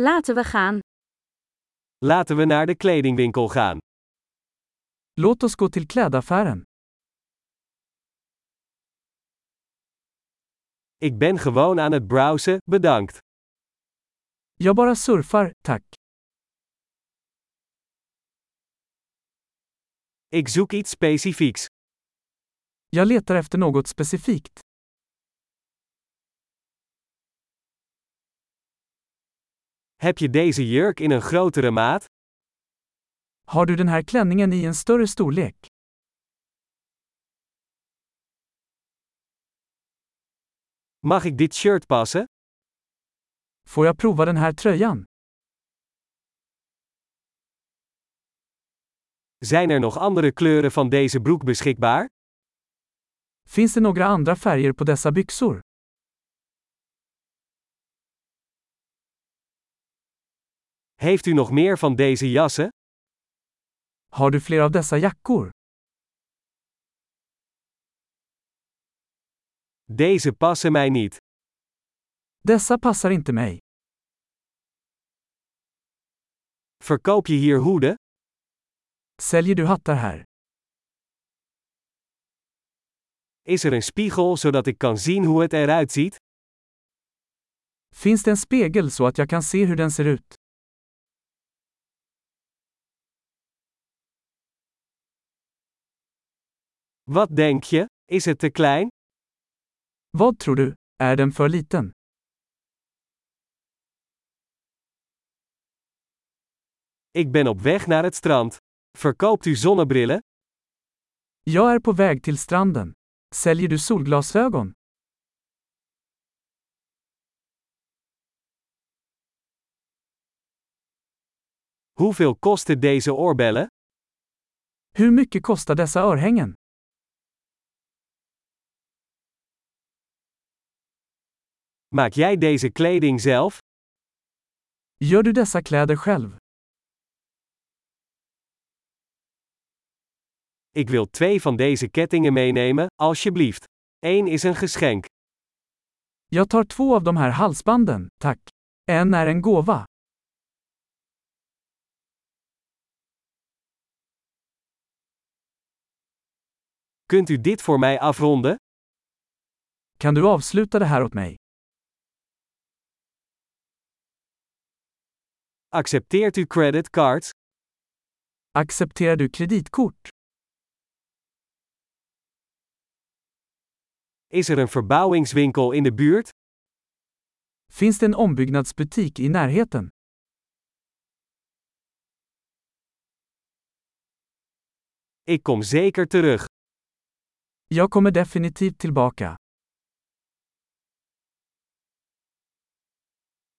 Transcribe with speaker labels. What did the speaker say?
Speaker 1: Laten we gaan.
Speaker 2: Laten we naar de kledingwinkel gaan.
Speaker 3: Låt oss gå till klädaffären.
Speaker 2: Ik ben gewoon aan het browsen, bedankt.
Speaker 3: Jag bara surfar, tack.
Speaker 2: Ik zoek iets specifieks.
Speaker 3: Jag letar efter något specifikt.
Speaker 2: Heb je deze jurk in een grotere maat?
Speaker 3: Har du den här klänningen i en större storlek?
Speaker 2: Mag ik dit shirt passen?
Speaker 3: Får jag prova den här tröjan?
Speaker 2: Zijn er nog andere kleuren van deze broek beschikbaar?
Speaker 3: Finns det några andra färger på dessa byxor?
Speaker 2: Heeft u nog meer van deze jassen?
Speaker 3: Har du fler av dessa jackor?
Speaker 2: Deze passen mij niet.
Speaker 3: Dessa passar inte mig.
Speaker 2: Verkoop je hier hoeden?
Speaker 3: Säljer du hattar här?
Speaker 2: Is er een spiegel zodat ik kan zien hoe het eruit ziet?
Speaker 3: Finns det en spegel så att jag kan se hur den ser ut?
Speaker 2: Wat denk je? Is het te klein?
Speaker 3: Vad tror du? Är den för liten?
Speaker 2: Ik ben op weg naar het strand. Verkoopt u zonnebrillen?
Speaker 3: Jag är på väg till stranden. Säljer du solglasögon?
Speaker 2: Hoeveel kosten deze oorbellen?
Speaker 3: Hur mycket kostar dessa örhängen?
Speaker 2: Maak jij deze kleding zelf?
Speaker 3: Gör du dessa kläder själv?
Speaker 2: Ik wil twee van deze kettingen meenemen, alsjeblieft. Eén is een geschenk.
Speaker 3: Jag tar två av de här halsbanden, tack. En är en gåva.
Speaker 2: Kunt u dit voor mij afronden?
Speaker 3: Kan du avsluta det här åt mig?
Speaker 2: Accepteert u creditcards?
Speaker 3: Accepterar du kreditkort?
Speaker 2: Is er een verbouwingswinkel in de buurt?
Speaker 3: Finns det en ombyggnadsbutik i närheten?
Speaker 2: Ik kom zeker terug.
Speaker 3: Jag kommer definitivt tillbaka.